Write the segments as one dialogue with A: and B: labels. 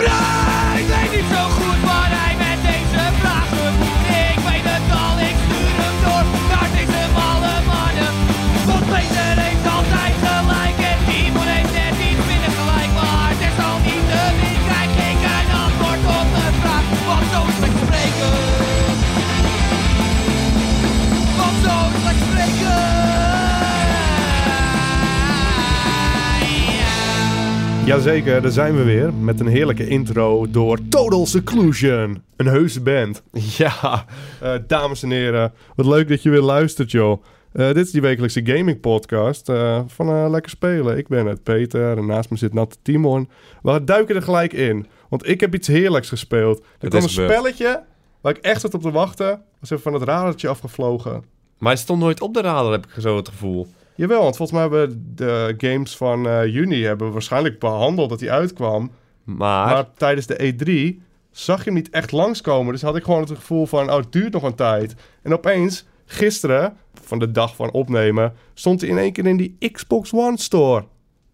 A: Kuipers weet niet zo goed waar hij met deze vraag moet. Ik weet het al, ik stuur hem door naar deze malle mannen. Want Peter heeft altijd gelijk en Timon heeft net iets minder gelijk. Maar desalniettemin krijg ik een antwoord op de vraag, want zo is het spreken. Want zo is het spreken.
B: Jazeker, daar zijn we weer. Met een heerlijke intro door Total Seclusion. Een heuse band. Ja, eh, dames en heren. Wat leuk dat je weer luistert, joh. Eh, dit is die wekelijkse gaming podcast eh, van eh, Lekker Spelen. Ik ben het, Peter. En naast me zit Natte Timon. We duiken er gelijk in. Want ik heb iets heerlijks gespeeld. Er
C: Het
B: kwam een
C: is gebeurd.
B: spelletje waar ik echt zat op te wachten. Was even van het radertje afgevlogen.
C: Maar hij stond nooit op de radar, heb ik zo het gevoel.
B: Jawel, want volgens mij hebben we de games van eh, juni hebben we waarschijnlijk behandeld dat die uitkwam.
C: Maar,
B: Maar tijdens de E3 zag je hem niet echt langskomen. Dus had ik gewoon het gevoel van, oh, het duurt nog een tijd. En opeens, gisteren, van de dag van opnemen, stond hij in één keer in die Xbox One Store.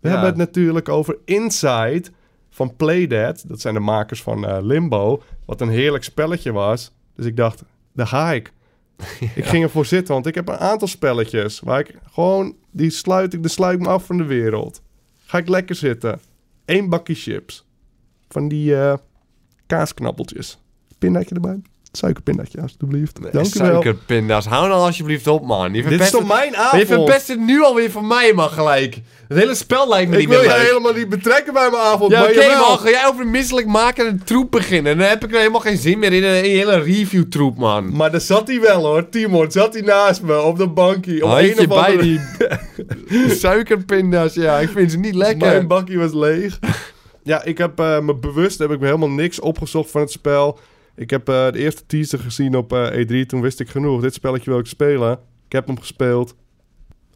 B: We
C: Ja.
B: hebben het natuurlijk over Inside van Playdead. Dat zijn de makers van eh, Limbo. Wat een heerlijk spelletje was. Dus ik dacht, daar ga ik. Ik ging ervoor zitten, want ik heb een aantal spelletjes waar ik gewoon, die sluit ik, de sluit ik me af van de wereld. Ga ik lekker zitten. Eén bakje chips. Van die eh kaasknabbeltjes. Pindaatje erbij. Suikerpindaatje, alstublieft. Dank u wel.
C: suikerpinda's, hou nou alsjeblieft op, man.
B: Dit
C: Je
B: is
C: verpest
B: toch
C: het,
B: mijn
C: je
B: avond?
C: verpest het nu alweer van mij, man, gelijk. Het hele spel lijkt me
B: ik
C: niet
B: wil
C: meer
B: je
C: leuk.
B: helemaal niet betrekken bij mijn avond.
C: Ja,
B: maar
C: oké,
B: jawel.
C: man. Ga jij over misselijk maken en troep beginnen? Dan heb ik er helemaal geen zin meer in. Een hele review-troep, man.
B: Maar daar zat hij wel hoor, Timon. Zat hij naast me op de bankje. Op een
C: Handje
B: of
C: bij
B: andere...
C: die suikerpinda's. Ja, ik vind ze niet lekker.
B: Mijn bakje was leeg. ja, ik heb eh, me bewust heb ik me helemaal niks opgezocht van het spel. Ik heb eh, de eerste teaser gezien op eh, E3. Toen wist ik genoeg. Dit spelletje wil ik spelen. Ik heb hem gespeeld.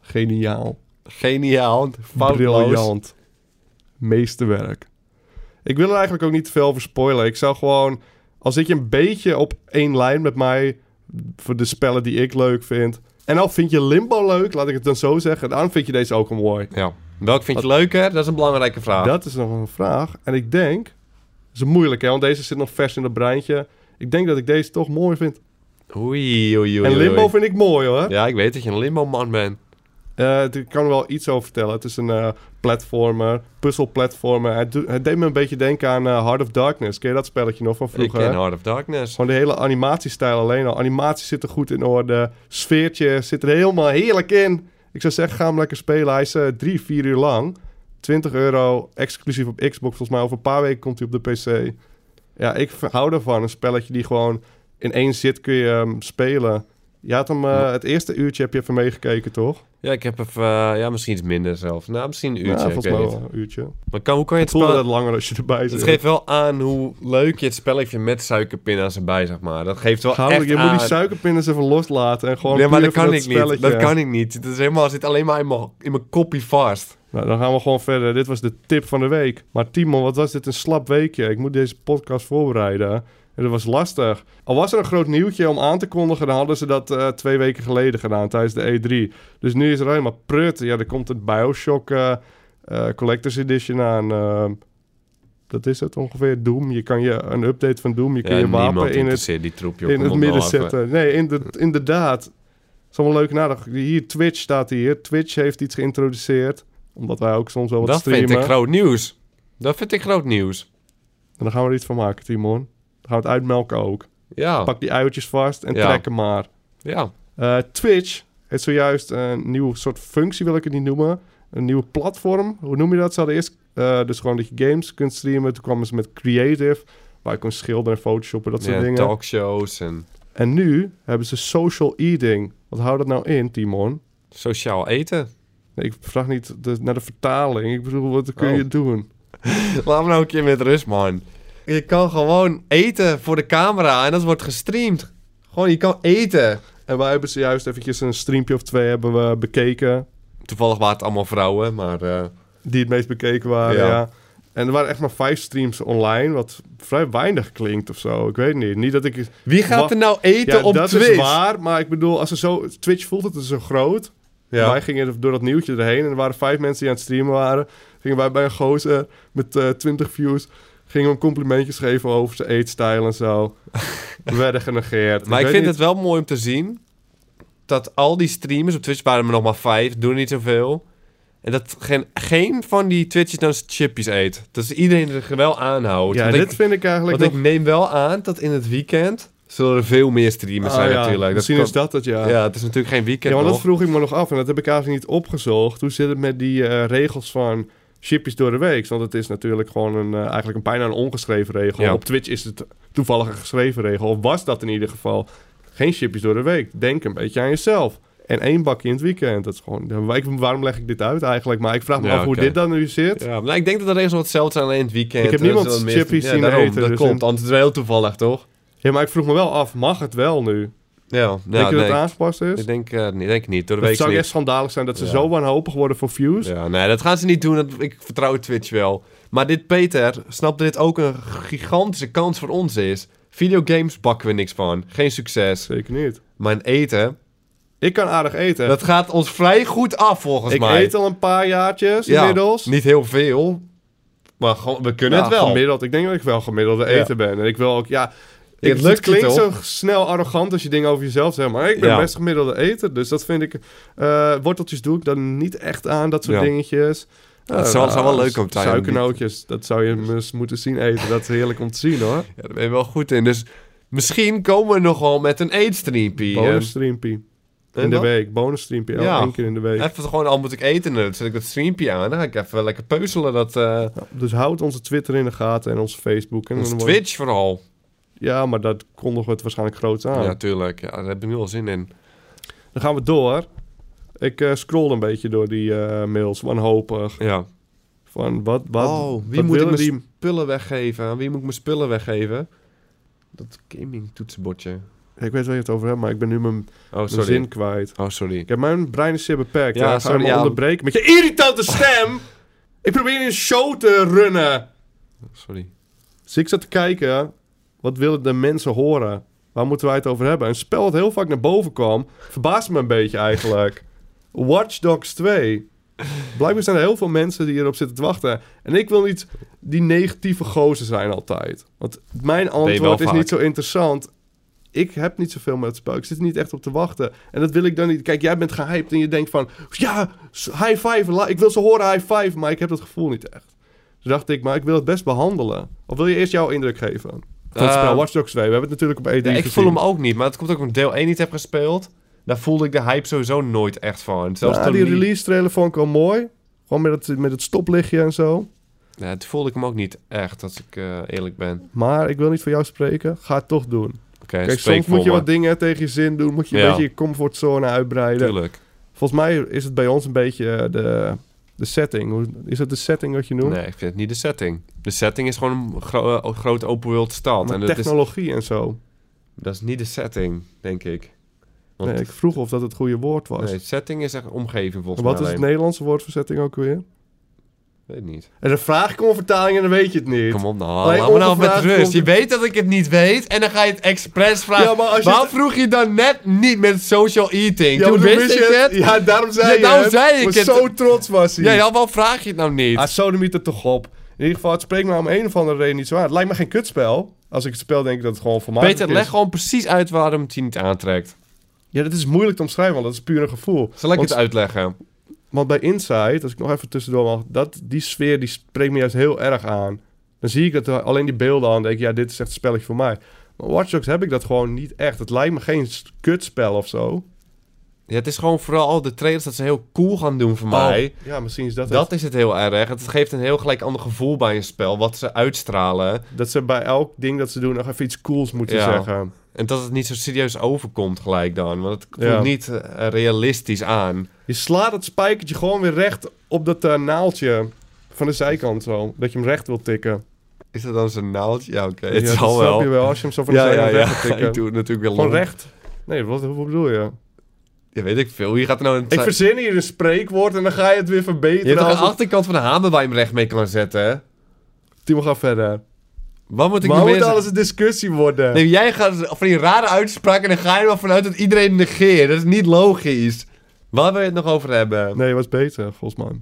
B: Geniaal.
C: Geniaal. Foutloos.
B: Briljant. Meesterwerk. Ik wil er eigenlijk ook niet te veel over spoilen. Ik zou gewoon... Al zit je een beetje op één lijn met mij... voor de spellen die ik leuk vind... En al vind je Limbo leuk, laat ik het dan zo zeggen... dan vind je deze ook een mooi.
C: Ja. Welk vind je leuker? Dat is een belangrijke vraag.
B: Dat is nog een vraag. En ik denk... Dat is moeilijk, hè? Want deze zit nog vers in het breintje. Ik denk dat ik deze toch mooi vind.
C: Oei, oei, oei.
B: en
C: oei,
B: Limbo
C: oei.
B: vind ik mooi, hoor.
C: Ja, ik weet dat je een limbo-man bent.
B: Eh, het- ik kan er wel iets over vertellen. Het is een eh, platformer, puzzelplatformer. Het, doe- het deed me een beetje denken aan eh, Heart of Darkness. Ken je dat spelletje nog van vroeger?
C: ik
B: hè?
C: ken Heart of Darkness.
B: Gewoon de hele animatiestijl alleen al. Animatie zit er goed in orde. Sfeertje zit er helemaal heerlijk in. Ik zou zeggen, ga hem lekker spelen. Hij is eh, drie, vier uur lang. 20 euro, exclusief op Xbox volgens mij. Over een paar weken komt hij op de PC. Ja, ik v- hou ervan. Een spelletje die gewoon in één zit kun je hem spelen. Je had hem, eh,
C: Ja.
B: het eerste uurtje heb je even meegekeken, toch?
C: Ja, ik heb even... eh, ja, misschien iets minder zelf. Nou, misschien een
B: ja,
C: uurtje, ik
B: volgens
C: weet
B: mij
C: niet.
B: wel een uurtje.
C: Maar kan, hoe kan je het
B: Het voelde
C: spel...
B: dat langer als je erbij zit.
C: Het geeft wel aan hoe leuk je het spelletje met suikerpinda's erbij, zeg maar. Dat geeft wel
B: Gaan we-
C: echt
B: je
C: aan...
B: moet die suikerpindas even loslaten en gewoon
C: Nee, maar
B: puur
C: dat
B: voor
C: kan ik niet.
B: spelletje.
C: Dat kan ik niet. Dat is helemaal, zit alleen maar in mijn, in mijn kopie vast.
B: Nou, dan gaan we gewoon verder. Dit was de tip van de week. Maar Timon, wat was dit een slap weekje? Ik moet deze podcast voorbereiden. En dat was lastig. Al was er een groot nieuwtje om aan te kondigen, dan hadden ze dat eh, twee weken geleden gedaan tijdens de E3. Dus nu is er alleen maar prut. Ja, er komt het Bioshock eh, eh, Collector's Edition aan. ehm, dat is het ongeveer. Doom. Je kan je een update van Doom. Je
C: Ja,
B: kan je wapen
C: niemand
B: in het
C: interesseert die troep, joh.
B: in
C: Kom
B: het
C: op nou
B: midden
C: even.
B: zetten. Nee, in de, inderdaad. Het is allemaal leuk nadag. Hier, Twitch staat hier. Twitch heeft iets geïntroduceerd. Omdat wij ook soms wel wat
C: Dat
B: streamen.
C: vind ik groot nieuws. Dat vind ik groot nieuws.
B: En dan gaan we er iets van maken, Timon. Dan gaan we het uitmelken ook.
C: Ja,
B: Pak die uiltjes vast en
C: Ja.
B: trek hem maar.
C: ja.
B: Eh, Twitch heeft zojuist een nieuwe soort functie, wil ik het niet noemen. Een nieuwe platform. Hoe noem je dat? Ze hadden eerst eh, dus gewoon dat je games kunt streamen. Toen kwamen ze met Creative, waar je kon schilderen en photoshoppen, dat soort
C: ja
B: dingen.
C: talkshows en
B: En nu hebben ze social eating. Wat houdt dat nou in, Timon?
C: sociaal eten.
B: Nee, ik vraag niet de- naar de vertaling. Ik bedoel, wat kun
C: Oh.
B: je doen?
C: Laat me nou een keer met rust, man. Je kan gewoon eten voor de camera en dat wordt gestreamd. Gewoon, je kan eten.
B: En wij hebben ze juist eventjes een streampje of twee hebben we bekeken.
C: Toevallig waren het allemaal vrouwen, maar... eh,
B: Die het meest bekeken waren, ja.
C: Ja.
B: En er waren echt maar vijf streams online, wat vrij weinig klinkt of zo. Ik weet niet. Niet dat ik...
C: Wie gaat
B: Wa-
C: er nou eten
B: Ja,
C: op
B: dat
C: Twitch?
B: is waar. Maar ik bedoel, als er zo... Twitch voelt het zo groot.
C: Ja.
B: Wij gingen door dat nieuwtje erheen en er waren vijf mensen die aan het streamen waren. Gingen wij bij een gozer met eh 20 views. Ging hem complimentjes geven over zijn eetstijl en zo. We werden genegeerd.
C: Maar ik,
B: weet
C: vind
B: niet-
C: het wel mooi om te zien dat al die streamers, op Twitch waren er nog maar vijf, doen niet zoveel. En dat geen, geen van die Twitchers nou zijn chippies eet. Dus iedereen zich er wel aanhoudt.
B: Ja,
C: want
B: dit
C: ik,
B: vind ik eigenlijk
C: want
B: nog...
C: ik neem wel aan dat in het weekend zullen er veel meer streamers
B: Ah,
C: zijn
B: ja,
C: natuurlijk. Dat
B: Misschien
C: kan-
B: is dat het, ja.
C: Ja, het is natuurlijk geen
B: Ja,
C: weekend
B: want dat
C: nog.
B: vroeg ik me nog af en dat heb ik eigenlijk niet opgezocht. Hoe zit het met die eh, regels van shipjes door de week? Want het is natuurlijk gewoon een, eh, eigenlijk een, bijna een ongeschreven regel.
C: Ja.
B: Op Twitch is het toevallig een geschreven regel. Of was dat in ieder geval geen shipjes door de week? Denk een beetje aan jezelf. En één bakje in het weekend. Dat is gewoon, ja, ik- waarom leg ik dit uit eigenlijk? Maar ik vraag me
C: Ja,
B: af hoe
C: oké.
B: dit dan nu zit.
C: Ja, maar ik denk dat de regels nog hetzelfde zijn alleen in het weekend.
B: Ik heb
C: En dat
B: niemand
C: is wel meer-
B: chippies
C: ja,
B: zien
C: daarom,
B: eten,
C: Dat
B: dus
C: komt,
B: dan-
C: anders is het wel heel toevallig, toch?
B: Ja, maar ik vroeg me wel af, mag het wel nu?
C: Ja, ja
B: Denk je dat
C: nee,
B: het aangepast is?
C: ik denk, eh, nee, denk ik niet. Door de
B: Het
C: week
B: zou
C: niet.
B: echt schandalig zijn dat ze
C: Ja.
B: zo wanhopig worden voor views.
C: Ja, nee, dat gaan ze niet doen. Dat, ik vertrouw Twitch wel. Maar dit, Peter, snap dat dit ook een gigantische kans voor ons is. Videogames bakken we niks van. Geen succes.
B: Zeker niet.
C: Mijn eten,
B: Ik kan aardig eten.
C: dat gaat ons vrij goed af volgens
B: ik
C: mij.
B: eet al een paar jaartjes
C: Ja,
B: inmiddels.
C: Niet heel veel. Maar gewoon, we kunnen
B: Ja,
C: het wel.
B: Gemiddeld. Ik denk dat ik wel gemiddelde
C: Ja.
B: eten ben. En ik wil ook, ja... Ik,
C: het lukt
B: het klinkt
C: je
B: zo
C: toch?
B: snel arrogant als je dingen over jezelf zegt. Maar ik ben
C: Ja.
B: best gemiddelde eter. Dus dat vind ik... eh, worteltjes doe ik dan niet echt aan. Dat soort
C: Ja.
B: dingetjes. Eh,
C: dat zou- zou wel leuk om te zijn.
B: Suikernootjes. Dat zou je eens moeten zien eten. Dat is heerlijk om te zien hoor.
C: Ja, daar ben je wel goed in. Dus misschien komen we nog wel met een eetstreampie.
B: Bonus streampie.
C: En
B: In de
C: wat?
B: week. Bonus streampie. Ja.
C: Ja.
B: één keer in de week.
C: Eh, Even gewoon, al moet ik eten. Dan zet ik dat streampie aan. Dan ga ik even lekker peuzelen. Dat, eh
B: Dus houd onze Twitter in de gaten en onze Facebook. En
C: ons
B: dan wordt-
C: Twitch vooral.
B: Ja, maar dat kondigen we het waarschijnlijk groot aan.
C: Ja, tuurlijk. Ja, daar heb ik nu al zin in.
B: Dan gaan we door. Ik eh, scroll een beetje door die eh, mails wanhopig.
C: Ja.
B: Van wat, wat,
C: oh, wie
B: wat
C: moet ik
B: willen
C: mijn
B: die...
C: spullen weggeven? Aan wie moet ik mijn spullen weggeven? Dat gaming toetsenbordje.
B: Ik weet waar je het over hebt, maar ik ben nu mijn,
C: Oh,
B: mijn
C: sorry.
B: zin kwijt.
C: Oh, sorry.
B: Ik heb mijn brein is zeer beperkt.
C: Ja,
B: Ja, ga je
C: sorry,
B: me
C: ja.
B: onderbreken met je irritante stem. ik probeer een show te runnen.
C: Sorry.
B: Dus ik zat te kijken, wat willen de mensen horen? Waar moeten wij het over hebben? Een spel dat heel vaak naar boven kwam, verbaast me een beetje eigenlijk. Watch Dogs 2. Blijkbaar zijn er heel veel mensen die erop zitten te wachten. En ik wil niet die negatieve gozer zijn altijd. Want mijn antwoord is
C: vaak.
B: niet zo interessant. Ik heb niet zoveel met het spel. Ik zit er niet echt op te wachten. En dat wil ik dan niet. Kijk, jij bent gehyped en je denkt van... Ja, s- high five. la- Ik wil ze horen high five. Maar ik heb dat gevoel niet echt. Dus dacht ik, maar ik wil het best behandelen. Of wil je eerst jouw indruk geven? Van het
C: Eh,
B: spel Watch Dogs 2. We hebben het natuurlijk op E3
C: Ja, ik
B: gezien.
C: voel hem ook niet, maar het komt ook omdat ik deel 1 niet heb gespeeld. Daar voelde ik de hype sowieso nooit echt van. Zelfs
B: Ja,
C: toen
B: die
C: niet-
B: release trailer vond ik wel mooi. Gewoon met het, met het stoplichtje en zo.
C: Ja, toen voelde ik hem ook niet echt, als ik eh, eerlijk ben. Oké,
B: Maar ik wil niet voor jou spreken. Ga het toch doen. Kijk,
C: spreek
B: soms
C: voor
B: moet je
C: me.
B: wat dingen tegen je zin doen. Moet je
C: Ja.
B: een beetje je comfortzone uitbreiden.
C: Tuurlijk.
B: Volgens mij is het bij ons een beetje eh, de, de setting. Hoe- Is dat de setting wat je noemt?
C: Nee, ik vind het niet de setting. De setting is gewoon een gro- eh, grote open world stad.
B: Maar
C: En dat is,
B: technologie en zo.
C: dat is niet de setting, denk ik. Want
B: Nee, ik vroeg of dat het goede woord was.
C: nee, setting is echt omgeving volgens
B: wat
C: mij.
B: is het
C: alleen.
B: Nederlandse woord voor setting ook weer?
C: Weet niet.
B: En dan vraag ik om een vertaling en dan weet je het niet.
C: Kom op nou,
B: Alleen
C: laat me nou met
B: ongevraagd
C: rust.
B: komt-
C: Je weet dat ik het niet weet en dan ga je het expres vragen.
B: Ja, maar als je
C: Waarom
B: het-
C: vroeg je dan net niet met social eating?
B: Ja,
C: Toen
B: maar
C: wist
B: toen
C: ik
B: wist
C: het.
B: je het. Ja, daarom zei
C: Ja,
B: je
C: daarom
B: het.
C: zei ik
B: Maar
C: het.
B: zo trots was hij.
C: Ja, ja, waarom vraag je het nou niet?
B: Ah, sodemiet het toch op. In ieder geval, het spreekt me om een of andere reden niet zo aan. Het lijkt me geen kutspel. Als ik het spel denk ik dat het gewoon vermakelijk
C: Peter,
B: is.
C: leg gewoon precies uit waarom het je niet aantrekt.
B: Ja, dat is moeilijk te omschrijven, want dat is puur een gevoel.
C: Zal ik
B: Want-
C: het uitleggen?
B: Want bij Inside, als ik nog even tussendoor mag, dat, die sfeer die spreekt me juist heel erg aan. Dan zie ik dat er alleen die beelden aan en denk ik, ja, dit is echt een spelletje voor mij. Maar Watch Dogs heb ik dat gewoon niet echt. Het lijkt me geen s- kutspel of zo.
C: Ja, het is gewoon vooral de trailers dat ze heel cool gaan doen voor
B: Oh.
C: mij.
B: Ja, misschien is dat,
C: Dat is het heel erg. Het geeft een heel gelijk ander gevoel bij een spel, wat ze uitstralen.
B: het. Dat ze bij elk ding dat ze doen nog even iets cools moeten
C: Ja.
B: zeggen.
C: En dat het niet zo serieus overkomt gelijk dan. Want het voelt
B: Ja.
C: niet eh, realistisch aan.
B: Je slaat het spijkertje gewoon weer recht op dat eh, naaldje van de zijkant zo. Dat je hem recht wilt tikken.
C: Is dat dan zo'n naaldje? Ja, oké.
B: Ja,
C: Het
B: dat
C: zal
B: snap
C: wel.
B: je wel als je hem zo van de zijkant recht wilt tikken.
C: Ik doe het natuurlijk wel
B: Gewoon
C: lang.
B: recht. Nee, wat, hoe bedoel je?
C: Ja, weet ik veel. Je gaat er nou een...
B: Ik verzin hier een spreekwoord en dan ga je het weer
C: je
B: verbeteren.
C: hebt toch
B: als
C: de
B: het-
C: achterkant van de hamer waar je hem recht mee kan zetten, hè?
B: Timo, ga verder.
C: Wat moet ik
B: maar
C: nog
B: moet
C: meer
B: alles een discussie worden?
C: Nee, jij gaat van die rare uitspraken en dan ga je er wel vanuit dat iedereen negeert. Dat is niet logisch. Waar wil je het nog over hebben?
B: Nee, was beter, volgens mij.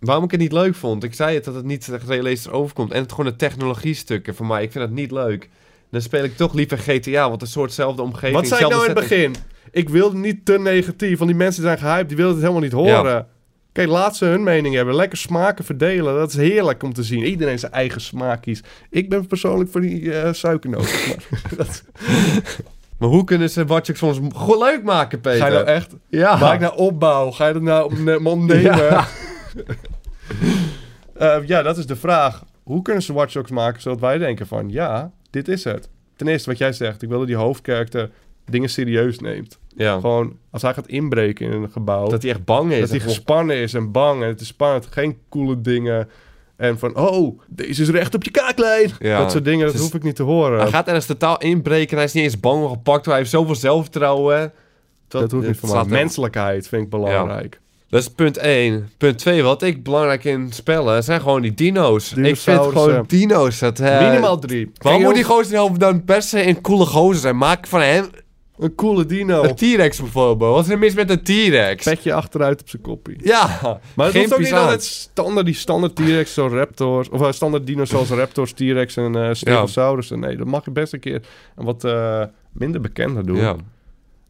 C: Waarom ik het niet leuk vond. Ik zei het dat het niet realistisch overkomt. En het gewoon de technologiestukken voor mij. Ik vind dat niet leuk. Dan speel ik toch liever GTA, want een soortzelfde omgeving.
B: Wat zei ik nou in het
C: zelfde
B: begin? Ik wilde niet te negatief, want die mensen zijn gehyped, die wilden het helemaal niet horen. Kijk, laat ze hun mening hebben. Lekker smaken verdelen. Dat is heerlijk om te zien. Iedereen zijn eigen smaak kiest. Ik ben persoonlijk voor die eh, suikernoten. Maar dat-
C: setting. Maar hoe kunnen ze Watch Dogs soms go- leuk maken, Peter?
B: Ga je nou echt...
C: Ja.
B: Waar ik nou opbouw? Ga je dat nou op ne- man nemen?
C: Ja.
B: Ja. eh, ja, dat is de vraag. Hoe kunnen ze Watch Dogs maken zodat wij denken van... Ja, dit is het. Ten eerste wat jij zegt. Ik wilde die hoofdkarakter dingen serieus neemt.
C: Ja.
B: Gewoon, als hij gaat inbreken in een gebouw...
C: Dat hij echt bang is.
B: Dat hij
C: gewoon-
B: gespannen is en bang en het is spannend. Geen coole dingen. En van, oh, deze is recht op je kaaklijn.
C: Ja.
B: Dat soort dingen, dat
C: Het is-
B: hoef ik niet te horen.
C: Hij gaat ergens totaal inbreken en hij is niet eens bang of gepakt. Hij heeft zoveel zelfvertrouwen. Dat,
B: dat hoef ik niet van mij.
C: staat er-
B: Menselijkheid vind ik belangrijk.
C: Dat is punt 1. Punt 2, wat ik belangrijk in spellen, zijn gewoon die dino's. Ik vind
B: Dinosaurussen.
C: gewoon dino's. Dat, eh,
B: Minimaal drie.
C: Waarom
B: Geen
C: moet die gozer nou dan per se een coole gozer zijn? Maak van hem
B: Een coole dino.
C: een T-Rex bijvoorbeeld. Wat is er mis met een T-Rex?
B: Petje achteruit op zijn koppie.
C: Ja,
B: Maar het
C: geen
B: hoeft ook niet
C: pisaat.
B: altijd standaard die standaard T-Rex zoals Raptors... Of eh, standaard dino's zoals Raptors, T-Rex en eh Stegosaurussen. Nee, dat mag je best een keer een wat eh, minder bekender doen.
C: Ja.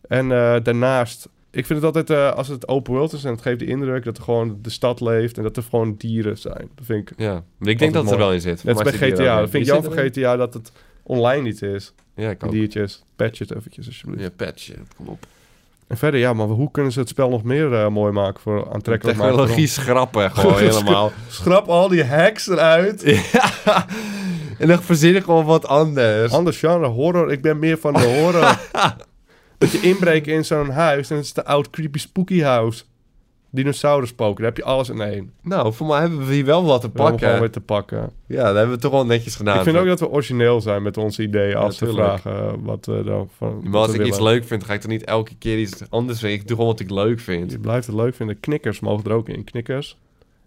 B: En eh, daarnaast, ik vind het altijd eh, als het open world is en het geeft de indruk dat er gewoon de stad leeft en dat er gewoon dieren zijn. Dat vind ik.
C: ja. Maar ik denk dat het er
B: mooi.
C: wel in
B: Net
C: zit. Maar
B: als bij
C: zit die er
B: GTA.
C: ook in?
B: Dat vind ik
C: Die
B: jammer
C: zit
B: van
C: erin?
B: GTA dat het online niet is.
C: Ja, ik
B: Die
C: ook.
B: diertjes. Patch het eventjes alsjeblieft.
C: Ja, patch. Kom op.
B: En verder, ja, maar hoe kunnen ze het spel nog meer eh, mooi maken voor aantrekkelijk maken? voor
C: Technologie schrappen gewoon helemaal.
B: ons? Schrap al die hacks eruit.
C: Ja. En dan verzin ik gewoon wat anders.
B: Anders genre, horror. Ik ben meer van de horror. dat je inbreekt in zo'n huis en het is de oud creepy spooky house. Dinosauruspoker, daar heb je alles in één.
C: Nou, voor mij hebben we hier wel wat te
B: We hebben gewoon
C: pakken.
B: weer te pakken.
C: Ja, dat hebben we toch wel netjes gedaan.
B: Ik vind ook dat we origineel zijn met onze ideeën als we
C: tuurlijk.
B: vragen eh, wat we daarvan.
C: Maar als
B: wat
C: ik
B: we
C: iets
B: willen.
C: leuk vind, ga ik er niet elke keer iets anders vinden. Ik doe gewoon wat ik leuk vind.
B: Je blijft het leuk vinden. Knikkers mogen er ook in. Knikkers.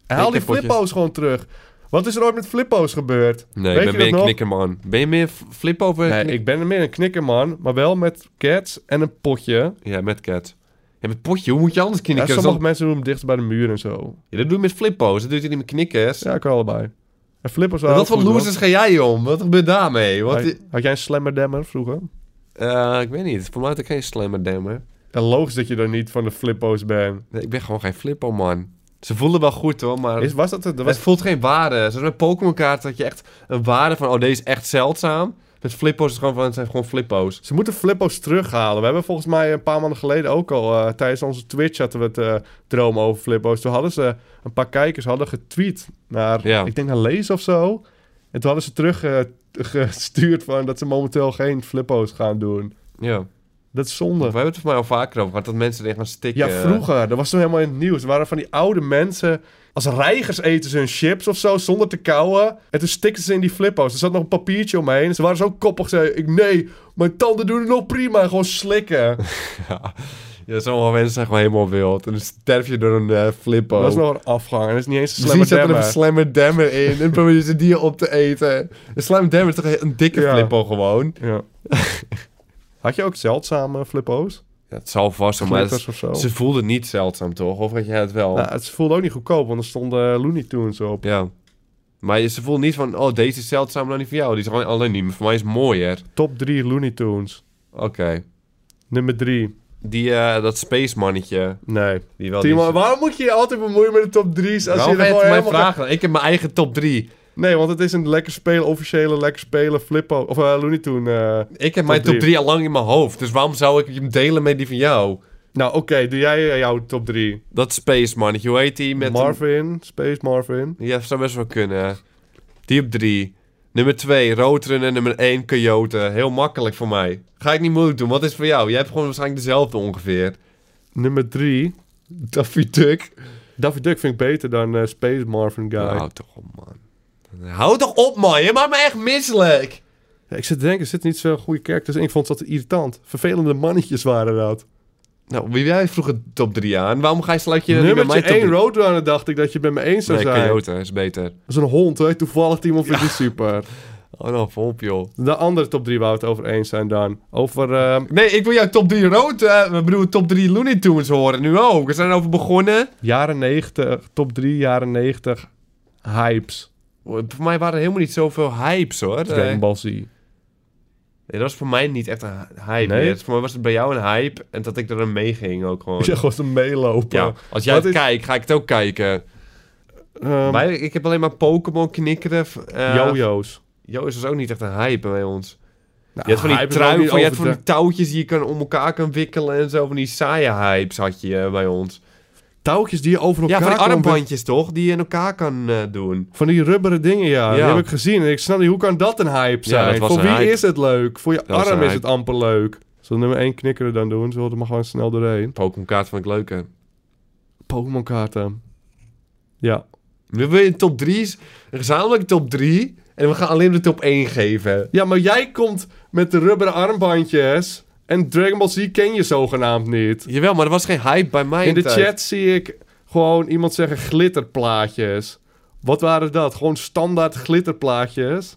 B: Haal die
C: Knikkerpotjes.
B: flippo's gewoon terug. Wat is er ooit met flippo's gebeurd? Weet
C: Nee, ik ben
B: je
C: meer
B: dat
C: een
B: nog?
C: knikkerman. Ben je meer f- flip over?
B: Nee, ik ben er meer een knikkerman, maar wel met cats en een potje.
C: Ja, met cat. Ja, met potje. Hoe moet je anders
B: Ja,
C: knikken?
B: sommige
C: Zo-
B: mensen doen hem dichter bij de muur en zo.
C: Ja, dat doe je met flippo's. Dat doe je niet met knikkers.
B: Ja, ik kan allebei. En flippers
C: En
B: waren
C: wat voor
B: ook goed,
C: losers ga jij om? Wat gebeurt daarmee?
B: hoor.
C: Wat
B: Had, had jij een slammerdammer vroeger?
C: Eh, ik weet niet. Voor mij had ik geen slammer dammer.
B: En logisch dat je dan niet van de flippo's bent.
C: Nee, ik ben gewoon geen flippo man. Ze voelen wel goed hoor, maar
B: Is, was dat het? Dat
C: het
B: was
C: voelt geen waarde. Zoals met Pokémon kaart dat je echt een waarde van oh deze is echt zeldzaam. Met flippo's is het gewoon van het zijn gewoon flippo's.
B: Ze moeten flippo's terughalen. We hebben volgens mij een paar maanden geleden ook al... eh, tijdens onze Twitch hadden we het eh droom over flippo's. Toen hadden ze... Een paar kijkers hadden getweet naar...
C: Ja.
B: Ik denk naar Lees of zo. En toen hadden ze teruggestuurd van... Dat ze momenteel geen flippo's gaan doen.
C: Ja.
B: Dat is
C: We
B: zonde.
C: hebben het voor mij al vaker over gehad dat mensen erin gaan stikken.
B: Ja, vroeger. Dat was toen helemaal in het nieuws. Er waren van die oude mensen... Als reigers eten ze hun chips of zo, zonder te kauwen. En toen stikten ze in die flippo's. Er zat nog een papiertje omheen. Ze waren zo koppig. Ze ik, nee, mijn tanden doen het nog prima. En Gewoon slikken.
C: Ja. Ja, sommige mensen zijn gewoon helemaal wild. En dan sterf je door een eh, flippo.
B: Dat is nog een afgang. En dat is niet eens een slimme
C: Misschien zit er een
B: demmer.
C: slammer dammer in en probeer je ze die op te eten. Een slammer dammer is toch een dikke
B: Ja.
C: flippo gewoon?
B: Ja. Had je ook zeldzame flippo's?
C: Ja, het zal vast wel, maar het is-
B: Knikkers of zo?
C: ze voelden niet zeldzaam toch? Of had jij het wel?
B: Nou, het voelde ook niet goedkoop, want er stonden Looney Tunes op.
C: Ja. Maar je- ze voelen niet van, oh, deze is zeldzaam dan die van jou. Die is gewoon alleen niet, maar voor mij is het mooier.
B: Top 3 Looney Tunes.
C: Oké.
B: Nummer 3.
C: Die, eh, dat space mannetje.
B: Nee.
C: Die wel
B: Timo,
C: die...
B: waarom moet je je altijd bemoeien met de top 3's? Als
C: Waarom
B: je
C: ga
B: er
C: je
B: gewoon
C: het mij
B: helemaal... geen-
C: vragen? Ik heb mijn eigen top 3.
B: Nee, want het is een lekker spelen, officiële lekker spelen flippo. Of eh, Looney Tune. eh.
C: Ik heb mijn
B: drie.
C: top 3 al lang in mijn hoofd. Dus waarom zou ik hem delen met die van jou?
B: Nou, oké, doe jij eh, jouw top 3.
C: Dat space mannetje, hoe heet die? Met een-
B: Marvin, Space Marvin.
C: Ja, zou best wel kunnen. Die op 3. Nummer 2, Roodrun en nummer 1, Coyote. Heel makkelijk voor mij. Ga ik niet moeilijk doen. Wat is voor jou? Jij hebt gewoon waarschijnlijk dezelfde ongeveer.
B: Nummer 3.
C: Daffy Duck.
B: Daffy Duck vind ik beter dan eh, Space Marvin Guy.
C: Hou toch op, man. Hou toch op, man. Je maakt me echt misselijk.
B: Ja, ik zit te denken, er zitten niet zo'n goede kerk. Dus ik vond dat irritant. Vervelende mannetjes waren dat.
C: Nou, wie jij vroeg het top 3 aan. Waarom ga je sluit je dan niet bij
B: Nummertje
C: mijn top
B: 1
C: drie-
B: Roadrunner dacht ik dat je bij me eens zou
C: Nee,
B: zijn.
C: Coyote is beter.
B: Dat is een hond, hè? Toevallig iemand vindt die super.
C: Oh, nou, volp, joh.
B: De andere top 3 waar we het over eens zijn dan. Over... ehm,
C: Nee, ik wil jouw top 3 rood, eh, we bedoelen top 3 Looney Tunes horen nu ook. We zijn over begonnen.
B: jaren 90, top 3 jaren 90 hypes.
C: Voor mij waren er helemaal niet zoveel hypes, hoor. Eh,
B: Dragon Ball Z.
C: nee, dat was voor mij niet echt een hy- hype.
B: Nee?
C: meer. Voor mij was het bij jou een hype en dat ik er mee ging ook gewoon.
B: Ja, gewoon te meelopen.
C: Ja, als jij
B: Wat
C: het
B: is-
C: kijkt, ga ik het ook kijken.
B: Ehm,
C: Wij, ik heb alleen maar Pokémon knikkeren. eh,
B: Jojo's.
C: Jojo's was ook niet echt een hype bij ons.
B: Nou,
C: Je had van die
B: hype is ook
C: trui,
B: niet
C: van, je had van die
B: overdre-
C: touwtjes die je kan om elkaar kan wikkelen en zo. Van die saaie hypes had je eh, bij ons.
B: touwtjes die je over elkaar
C: Ja, van die
B: kon-
C: armbandjes toch? Die je in elkaar kan eh, doen.
B: Van die rubberen dingen, ja. Die
C: Ja.
B: heb ik gezien. En ik snap niet, hoe kan dat een hype
C: Ja,
B: zijn?
C: dat was
B: Voor
C: een
B: wie
C: hype.
B: is het leuk? Voor je
C: Dat was
B: arm
C: een
B: is het
C: hype.
B: amper leuk. Zullen we nummer 1 knikkeren dan doen? Zullen we er maar gewoon snel doorheen?
C: Pokémon kaart vond ik leuker.
B: Pokémon kaarten. Ja.
C: Nu wil je een top 3, een gezamenlijke top 3. En we gaan alleen de top 1 geven.
B: Ja, maar jij komt met de rubberen armbandjes. En Dragon Ball Z ken je zogenaamd niet.
C: Jawel, maar er was geen hype bij mij.
B: In de
C: tijd.
B: chat zie ik gewoon iemand zeggen glitterplaatjes. Wat waren dat? Gewoon standaard glitterplaatjes.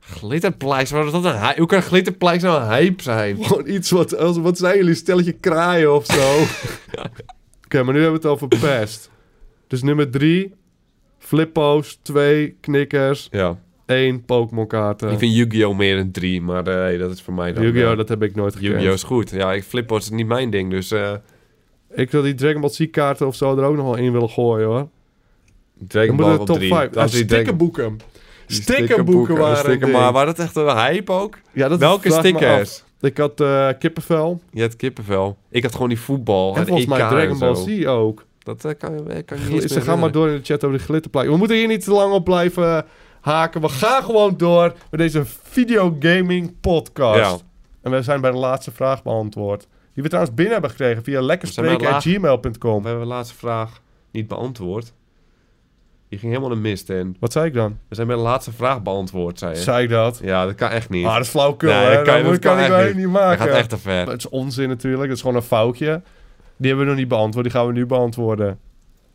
C: Glitterpleis, wat is dat een hype? Hoe kan glitterpleis nou een hype zijn?
B: Gewoon iets wat... als- Wat zijn jullie? Stelletje kraaien of zo. Oké, maar nu hebben we het over pest. Dus nummer drie. Flippo's. Twee knikkers.
C: Ja,
B: één Pokémon
C: ik
B: kaarten.
C: vind Yu-Gi-Oh! meer een 3, maar eh, hey, dat is voor mij dan...
B: Yu-Gi-Oh!
C: eh,
B: Dat heb ik nooit gekend.
C: Yu-Gi-Oh! is goed. Ja, ik Flippo is niet mijn ding, dus... eh
B: Ik wil die Dragon Ball Z kaarten of zo er ook nog wel in willen gooien hoor. Dan
C: Dragon
B: moeten we
C: Ball
B: de
C: op
B: top
C: 3.
B: 5.
C: Dat is die Dragon-
B: stickerboeken.
C: die
B: Stickerboeken waren
C: Sticker,
B: een ding.
C: maar waren dat echt een hype ook?
B: Ja, dat
C: Welke
B: vraag ik me
C: stickers?
B: af.
C: Oh,
B: Ik had eh, kippenvel.
C: Je had kippenvel. Ik had gewoon die voetbal.
B: en
C: het
B: volgens mij
C: EK en
B: Dragon Ball
C: zo.
B: Z ook.
C: Dat eh, kan, eh, kan ik niet eens
B: Ze
C: meer
B: gaan maar
C: herinneren.
B: door in de chat over de glitterplaatjes. We moeten hier niet te lang op blijven eh, haken. We gaan gewoon door met deze videogaming podcast. En we zijn bij de laatste vraag beantwoord. Die we trouwens binnen hebben gekregen via
C: zijn maar
B: lekkerspreken.gmail.com.
C: We hebben de laatste vraag niet beantwoord. Die ging helemaal de mist in.
B: Wat zei ik dan?
C: We zijn bij de laatste vraag beantwoord, zei je.
B: Zei ik dat?
C: Ja, dat kan echt niet.
B: Ah, dat is flauwkul,
C: Nee,
B: hè?
C: dat kan-
B: dat
C: dat
B: kan,
C: kan
B: ik
C: echt
B: wel niet
C: dat
B: maken.
C: gaat echt te ver.
B: Maar Het is onzin natuurlijk. Het is gewoon een foutje. Die hebben we nog niet beantwoord. Die gaan we nu beantwoorden. Die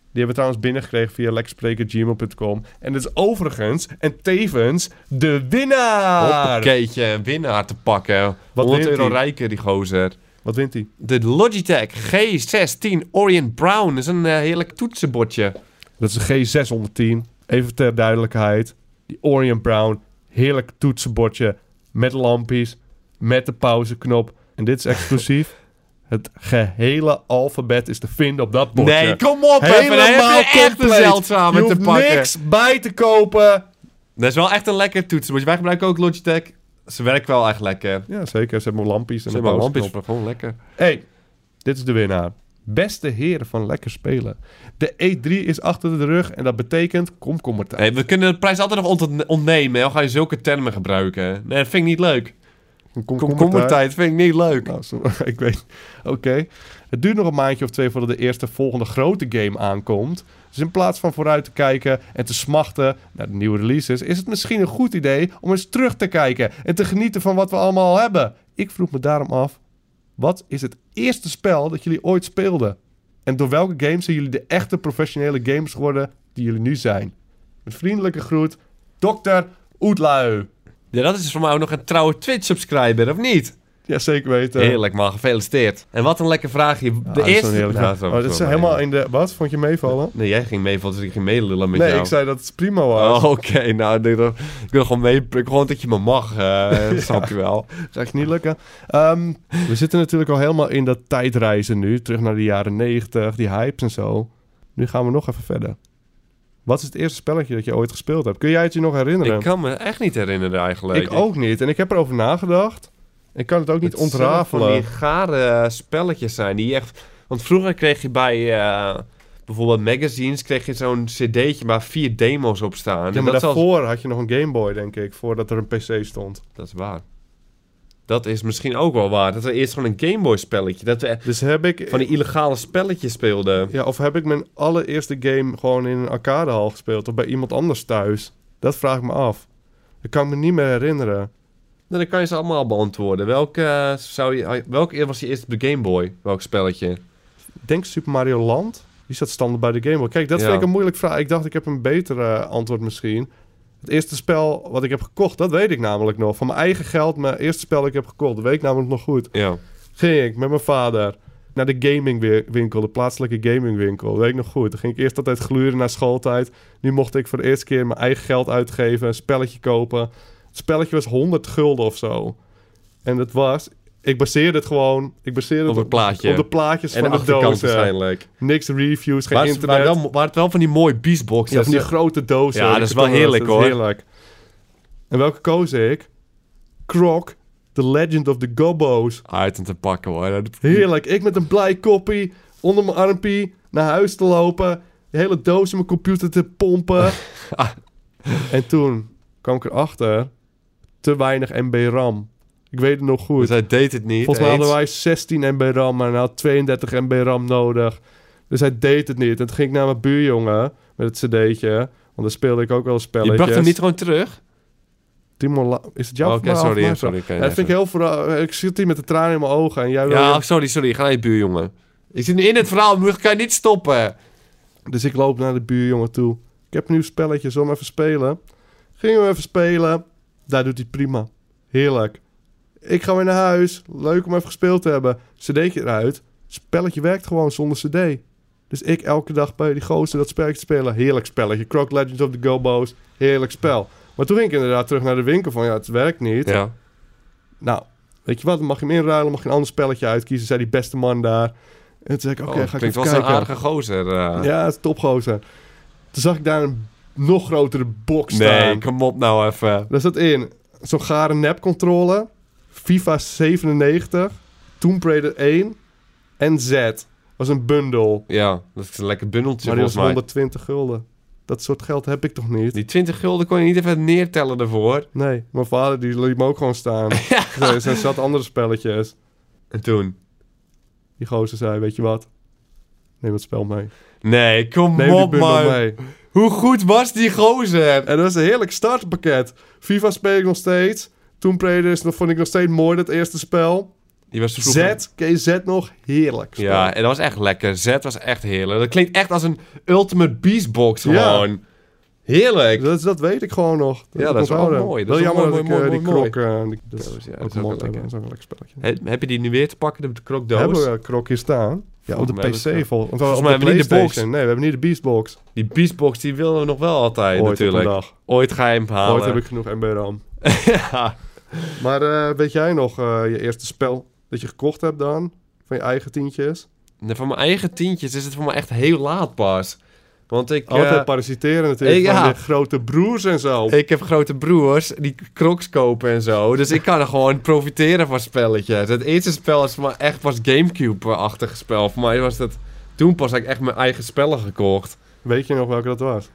B: hebben we trouwens binnengekregen via lekkerspreken.gmail.com. En dat is overigens en tevens de winnaar.
C: Hoppakeetje, een winnaar te pakken.
B: Wat
C: 100
B: wint
C: euro
B: hij?
C: rijker, die gozer.
B: Wat wint hij?
C: De Logitech G16 Orient Brown is een eh, heerlijk toetsenbordje.
B: Dat is een G610. Even ter duidelijkheid. Die Orient Brown. Heerlijk toetsenbordje. Met lampjes. Met de pauzeknop. En dit is exclusief. Het gehele alfabet is te vinden op dat bordje.
C: Nee, kom op even. Dan heb je echt een zeldzame
B: Je
C: te
B: hoeft
C: pakken.
B: niks bij te kopen.
C: Dat is wel echt een lekker toetsenbordje. Wij gebruiken ook Logitech. Ze werkt wel echt lekker.
B: Ja, zeker. Ze hebben lampjes en
C: Ze
B: een
C: hebben lampjes
B: pauzeknop.
C: maar gewoon lekker.
B: hey, dit is de winnaar. Beste heren van Lekker Spelen. De E3 is achter de rug en dat betekent komkommertijd.
C: Hey, we kunnen de prijs altijd nog ont- ontnemen. hè, al ga je zulke termen gebruiken. Nee, dat vind ik niet leuk. Komkommertijd vind ik niet leuk.
B: Nou, zo- ik weet. Oké. Het duurt nog een maandje of twee voordat de eerste volgende grote game aankomt. Dus in plaats van vooruit te kijken en te smachten naar de nieuwe releases, is het misschien een goed idee om eens terug te kijken en te genieten van wat we allemaal al hebben. Ik vroeg me daarom af: wat is het eerste spel dat jullie ooit speelden? En door welke games zijn jullie de echte professionele gamers geworden die jullie nu zijn? Met vriendelijke groet, Dr. Oetlui.
C: Ja, dat is voor mij ook nog een trouwe Twitch-subscriber, of niet?
B: Ja, zeker weten.
C: Heerlijk man, gefeliciteerd. En wat een lekker vraagje. De
B: Ja, dat is
C: eerste...
B: wel heerlijk.
C: Nou,
B: Oh, dat is
C: wel
B: helemaal
C: leuk.
B: in de... Wat? Vond je meevallen?
C: Nee, jij ging mee, want ik ging meelullen met
B: Nee,
C: jou.
B: ik zei dat het prima was.
C: Oh, Oké, nou, ik, dacht, ik wil gewoon mee... Ik wil gewoon dat je me mag, eh, dat snap je wel.
B: Dat zou echt niet lukken. Ehm, we zitten natuurlijk al helemaal in dat tijdreizen nu. Terug naar de jaren 90, die hypes en zo. Nu gaan we nog even verder. Wat is het eerste spelletje dat je ooit gespeeld hebt? Kun jij het je nog herinneren?
C: Ik kan me echt niet herinneren eigenlijk.
B: Ik ook niet. En ik heb erover nagedacht. Ik kan het ook niet
C: Het zullen
B: ontrafelen.
C: Van die gare eh, spelletjes zijn die echt... Want vroeger kreeg je bij eh, bijvoorbeeld magazines... kreeg je zo'n cd'tje waar vier demo's op staan.
B: Ja,
C: En
B: maar
C: dat, is al-
B: daarvoor had je nog een Game Boy, denk ik. Voordat er een PC stond.
C: dat is waar. Dat is misschien ook wel waar. Dat we eerst gewoon een Gameboy spelletje... Dat we echt
B: Dus heb ik...
C: van die illegale spelletjes speelden.
B: Ja, of heb ik mijn allereerste game gewoon in een arcadehal gespeeld of bij iemand anders thuis? Dat vraag ik me af. Dat kan ik me niet meer herinneren.
C: Nou, dan kan je ze allemaal beantwoorden. Welke, eh, zou je, welke was je eerste Gameboy? Welk spelletje?
B: Ik Denk Super Mario Land? Die staat standaard bij de Game Boy. Kijk, dat
C: Ja.
B: vind ik een moeilijk vraag. Ik dacht, ik heb een betere eh, antwoord misschien. Het eerste spel wat ik heb gekocht, dat weet ik namelijk nog. Van mijn eigen geld, mijn eerste spel dat ik heb gekocht, dat weet ik namelijk nog goed.
C: Ja.
B: Ging ik met mijn vader naar de gamingwinkel, de plaatselijke gamingwinkel. Dat weet ik nog goed. Dan ging ik eerst altijd gluren naar schooltijd. Nu mocht ik voor de eerste keer mijn eigen geld uitgeven, een spelletje kopen. Het spelletje was 100 gulden of zo. En dat was... Ik baseerde het gewoon... Ik baseerde
C: Op het plaatje.
B: Op de plaatjes
C: En de
B: van de, doos.
C: achterkant waarschijnlijk.
B: Niks reviews, geen
C: Maar het
B: internet.
C: waren wel, waren het wel van die mooie beastboxen. eh,
B: Ja, van die grote dozen.
C: Ja, dat
B: Ik
C: is
B: heb
C: wel
B: het al
C: heerlijk,
B: gehad, dat is
C: hoor.
B: Heerlijk. En welke koos ik? Croc, The Legend of the Gobbo's.
C: Uit en te pakken hoor. Dat-
B: Heerlijk. Ik met een blij koppie onder mijn armpie naar huis te lopen. De hele doos in mijn computer te pompen.
C: Ah.
B: en toen kwam ik erachter, te weinig MB RAM. Ik weet het nog goed.
C: Dus hij deed het niet.
B: Volgens mij
C: eens.
B: hadden wij 16 MB RAM, maar hij had 32 MB RAM nodig. Dus hij deed het niet. En toen ging ik naar mijn buurjongen met het cd'tje. Want daar speelde ik ook wel spelletjes.
C: Je bracht hem niet gewoon terug?
B: Timo La- Is het jouw
C: Oh, Oké,
B: verhaal of
C: sorry.
B: mijn
C: sorry
B: verhaal?
C: oké,
B: Ja, dat
C: even.
B: vind ik heel verra- Ik zit hier met de tranen in mijn ogen en jij wil...
C: Ja, oh, sorry, sorry. Ga naar je buurjongen. Ik zit nu in het verhaal, maar ik kan je niet stoppen.
B: Dus ik loop naar de buurjongen toe. Ik heb een nieuw spelletje, zullen we hem even spelen? Gingen we even spelen. Daar doet hij het prima. Heerlijk. Ik ga weer naar huis. Leuk om even gespeeld te hebben. CD'tje eruit. Spelletje werkt gewoon zonder CD. Dus ik elke dag bij die gozer dat spelletje spelen. Heerlijk spelletje. Croc Legends of the Gobos. Heerlijk spel. Maar toen ging ik inderdaad terug naar de winkel van ja, het werkt niet.
C: Ja.
B: Nou, weet je wat? Dan mag je hem inruilen, mag je een ander spelletje uitkiezen. Zei die beste man daar. En toen zei ik, oké,
C: Oh,
B: ga ik
C: klinkt
B: even
C: wel een
B: kijken.
C: aardige gozer. eh.
B: Ja, het is topgozer. Toen zag ik daar een nog grotere box
C: Nee,
B: staan.
C: kom op nou even.
B: Daar zat in zo'n gare nepcontrole, FIFA 97, Tomb Raider 1 en Z. was een bundel.
C: Ja, dat is een lekker bundeltje
B: Maar die was
C: volgens mij.
B: 120 gulden. Dat soort geld heb ik toch niet?
C: Die 20 gulden kon je niet even neertellen daarvoor.
B: Nee, mijn vader die liet me ook gewoon staan. Ze ze zat andere spelletjes.
C: En toen?
B: Die gozer zei, weet je wat? Neem het spel mee.
C: Nee, kom
B: Neem die
C: op
B: bundel
C: man.
B: mee.
C: Hoe goed was die gozer?
B: En dat was een heerlijk startpakket. FIFA speel ik nog steeds. Tomb Raider is nog, vond ik nog steeds mooi, dat eerste spel.
C: Die was
B: Z,
C: vroeger-
B: ken je Z nog? Heerlijk. spel.
C: Ja, en dat was echt lekker. Z was echt heerlijk. Dat klinkt echt als een Ultimate Beastbox
B: Ja.
C: gewoon. Heerlijk.
B: Dus Dat, dat weet ik gewoon nog.
C: Ja,
B: heb
C: dat
B: ik
C: is wel
B: onthouden.
C: mooi. Dat
B: Wel
C: is wel
B: jammer
C: mooi,
B: dat
C: mooi,
B: ik eh,
C: mooi,
B: die krok...
C: mooi.
B: eh, die, dat
C: Dat is-
B: is
C: ja, dat
B: ook
C: is ook
B: een mond
C: wel
B: hebben.
C: lekker.
B: Dat is ook een lekker spelletje.
C: He- heb je die nu weer te pakken, de krokdoos?
B: Hebben we een krokje staan? Ja, op de
C: mij hebben we
B: PC
C: het-
B: vol. Want we
C: Volgens
B: op
C: mij hebben we niet de box.
B: PlayStation. Nee, we hebben niet de Beastbox.
C: Die Beastbox die willen we nog wel altijd
B: Ooit
C: natuurlijk.
B: op een dag.
C: Ooit ga je hem halen.
B: Ooit heb ik genoeg MB RAM.
C: Ja.
B: Maar eh, weet jij nog eh, je eerste spel dat je gekocht hebt dan? Van je eigen tientjes?
C: Nee, Van mijn eigen tientjes is het voor mij echt heel laat pas. Want ik...
B: Altijd
C: eh,
B: parasiteren natuurlijk.
C: Ja.
B: Van je grote broers en zo.
C: Ik heb grote broers die crocs kopen en zo. Dus ik kan er gewoon profiteren van spelletjes. Het eerste spel was voor mij echt pas Gamecube-achtig spel. Voor mij was dat... Toen pas had ik echt mijn eigen spellen gekocht.
B: Weet je nog welke dat was?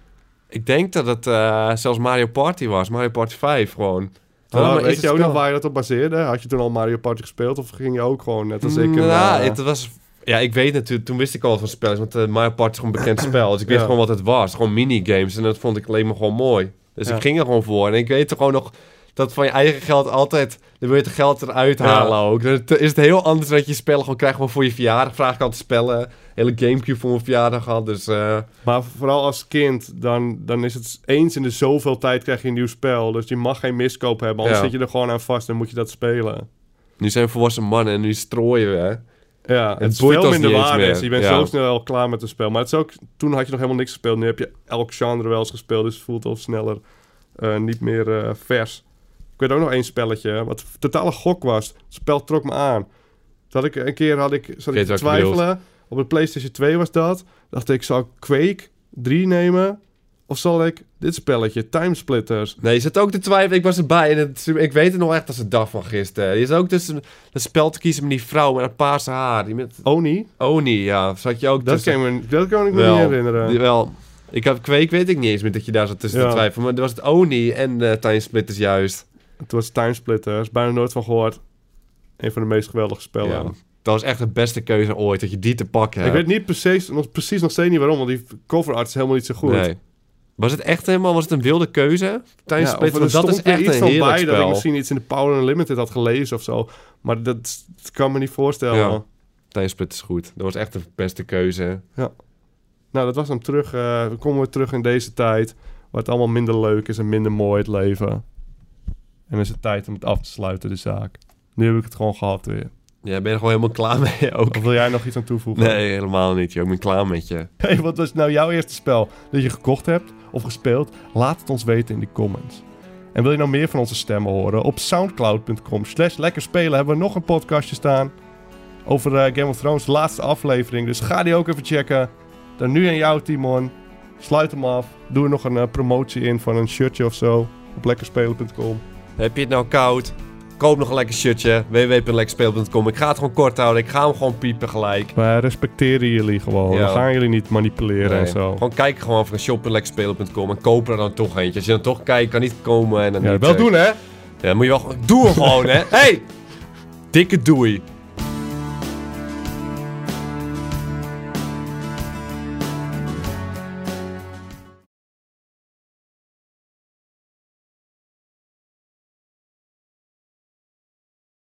C: Ik denk dat het eh, zelfs Mario Party was. Mario Party 5 gewoon.
B: Ja,
C: Allemaal
B: Oh, Ah, weet
C: eerste
B: je ook nog
C: spel.
B: waar je dat op baseerde? Had je toen al Mario Party gespeeld of ging je ook gewoon net als ik... een,
C: Nou,
B: eh,
C: het was... Ja, ik weet natuurlijk... Toen wist ik al wat van spelletjes. Want eh, Mario Party is gewoon een bekend spel. Dus ik wist
B: Ja.
C: gewoon wat het was. Gewoon minigames. En dat vond ik alleen maar gewoon mooi. Dus
B: Ja.
C: ik ging er gewoon voor. En ik weet er gewoon nog... Dat van je eigen geld altijd... Dan wil je het geld eruit
B: Ja.
C: halen ook. Dan t- is het heel anders dat je spellen gewoon krijgt... gewoon voor je verjaardag. Vraag ik altijd spellen. Hele Gamecube voor mijn verjaardag had. Dus eh,
B: Maar vooral als kind, dan, dan is het eens in de zoveel tijd krijg je een nieuw spel. Dus je mag geen miskoop hebben, anders
C: Ja.
B: zit je er gewoon aan vast en moet je dat spelen.
C: nu zijn we volwassen mannen. En nu strooien we.
B: Ja, het, is
C: boeit
B: veel
C: ons
B: minder
C: niet eens
B: waarde.
C: meer.
B: dus Je bent
C: Ja.
B: zo snel al klaar met een spel. Maar het is ook, toen had je nog helemaal niks gespeeld. Nu heb je elk genre wel eens gespeeld, dus het voelt al sneller eh, niet meer eh, vers. Ik weet ook nog één spelletje, wat een totale gok was. Het spel trok me aan. Dat ik een keer had ik, zat
C: weet
B: ik te
C: wat je bedoelt.
B: twijfelen. Op de PlayStation 2 was dat. Dacht ik, zal ik Quake 3 nemen? Of zal ik dit spelletje, Timesplitters?
C: Nee, je zit ook te twijfelen. Ik was erbij en het, ik weet het nog echt als de dag van gisteren. Je zat ook tussen dat spel te kiezen met die vrouw met dat paarse haar. Die met
B: Oni?
C: Oni, ja. Zat je ook
B: Oh, Dat
C: tussen...
B: kan, ik me, dat kan ik me
C: Wel,
B: niet herinneren.
C: die- Wel, ik had kweek weet ik niet eens meer dat je daar zat tussen
B: Ja.
C: te twijfelen. Maar er was het Oni en eh Timesplitters juist.
B: Het was Timesplitters, bijna nooit van gehoord. Een van de meest geweldige spellen.
C: Ja. Dat was echt de beste keuze ooit, dat je die te pakken
B: Ik
C: hebt.
B: weet niet precies nog, precies nog steeds niet waarom, want die coverart is helemaal niet zo goed.
C: Nee. Was het echt helemaal, was het een wilde keuze?
B: Ja, of er
C: Timesplitters, want dat
B: stond er
C: is echt
B: iets
C: een
B: van
C: heerlijk
B: bij dat ik
C: spel.
B: misschien iets in de Power Unlimited had gelezen of zo. Maar dat, dat kan me niet voorstellen.
C: Ja. Timesplitters is goed. Dat was echt de beste keuze.
B: Nou, dat was hem terug. eh, we komen weer terug in deze tijd. Waar het allemaal minder leuk is en minder mooi het leven. En dan is het tijd om het af te sluiten, de zaak. Nu heb ik het gewoon gehad weer.
C: Ja, ben je er gewoon helemaal klaar mee ook?
B: Of wil jij nog iets aan toevoegen?
C: Nee, helemaal niet. joh. Ik ben klaar met je.
B: Hey, wat was nou jouw eerste spel dat je gekocht hebt of gespeeld? Laat het ons weten in de comments. En wil je nou meer van onze stemmen horen? Op soundcloud.com slash lekker spelen hebben we nog een podcastje staan. Over eh, Game of Thrones, de laatste aflevering. Dus ga die ook even checken. Dan nu aan jou, Timon. Sluit hem af. Doe er nog een eh, promotie in van een shirtje of zo. Op lekkerspelen.com.
C: Heb je het nou koud? Koop nog een lekker shirtje. www.lekkerspeel.com. Ik ga het gewoon kort houden. Ik ga hem gewoon piepen gelijk.
B: Wij respecteren jullie gewoon.
C: Ja.
B: We gaan jullie niet manipuleren en
C: Nee.
B: zo.
C: Gewoon kijken gewoon of ik een shop op lekkerspelen.com en koop er dan toch eentje. Als je dan toch kijkt, kan niet komen en dan
B: Ja,
C: niet,
B: wel
C: eh,
B: doen, hè?
C: Ja, dan moet je wel gewoon... Doe hem gewoon, hè. Hey! Dikke doei.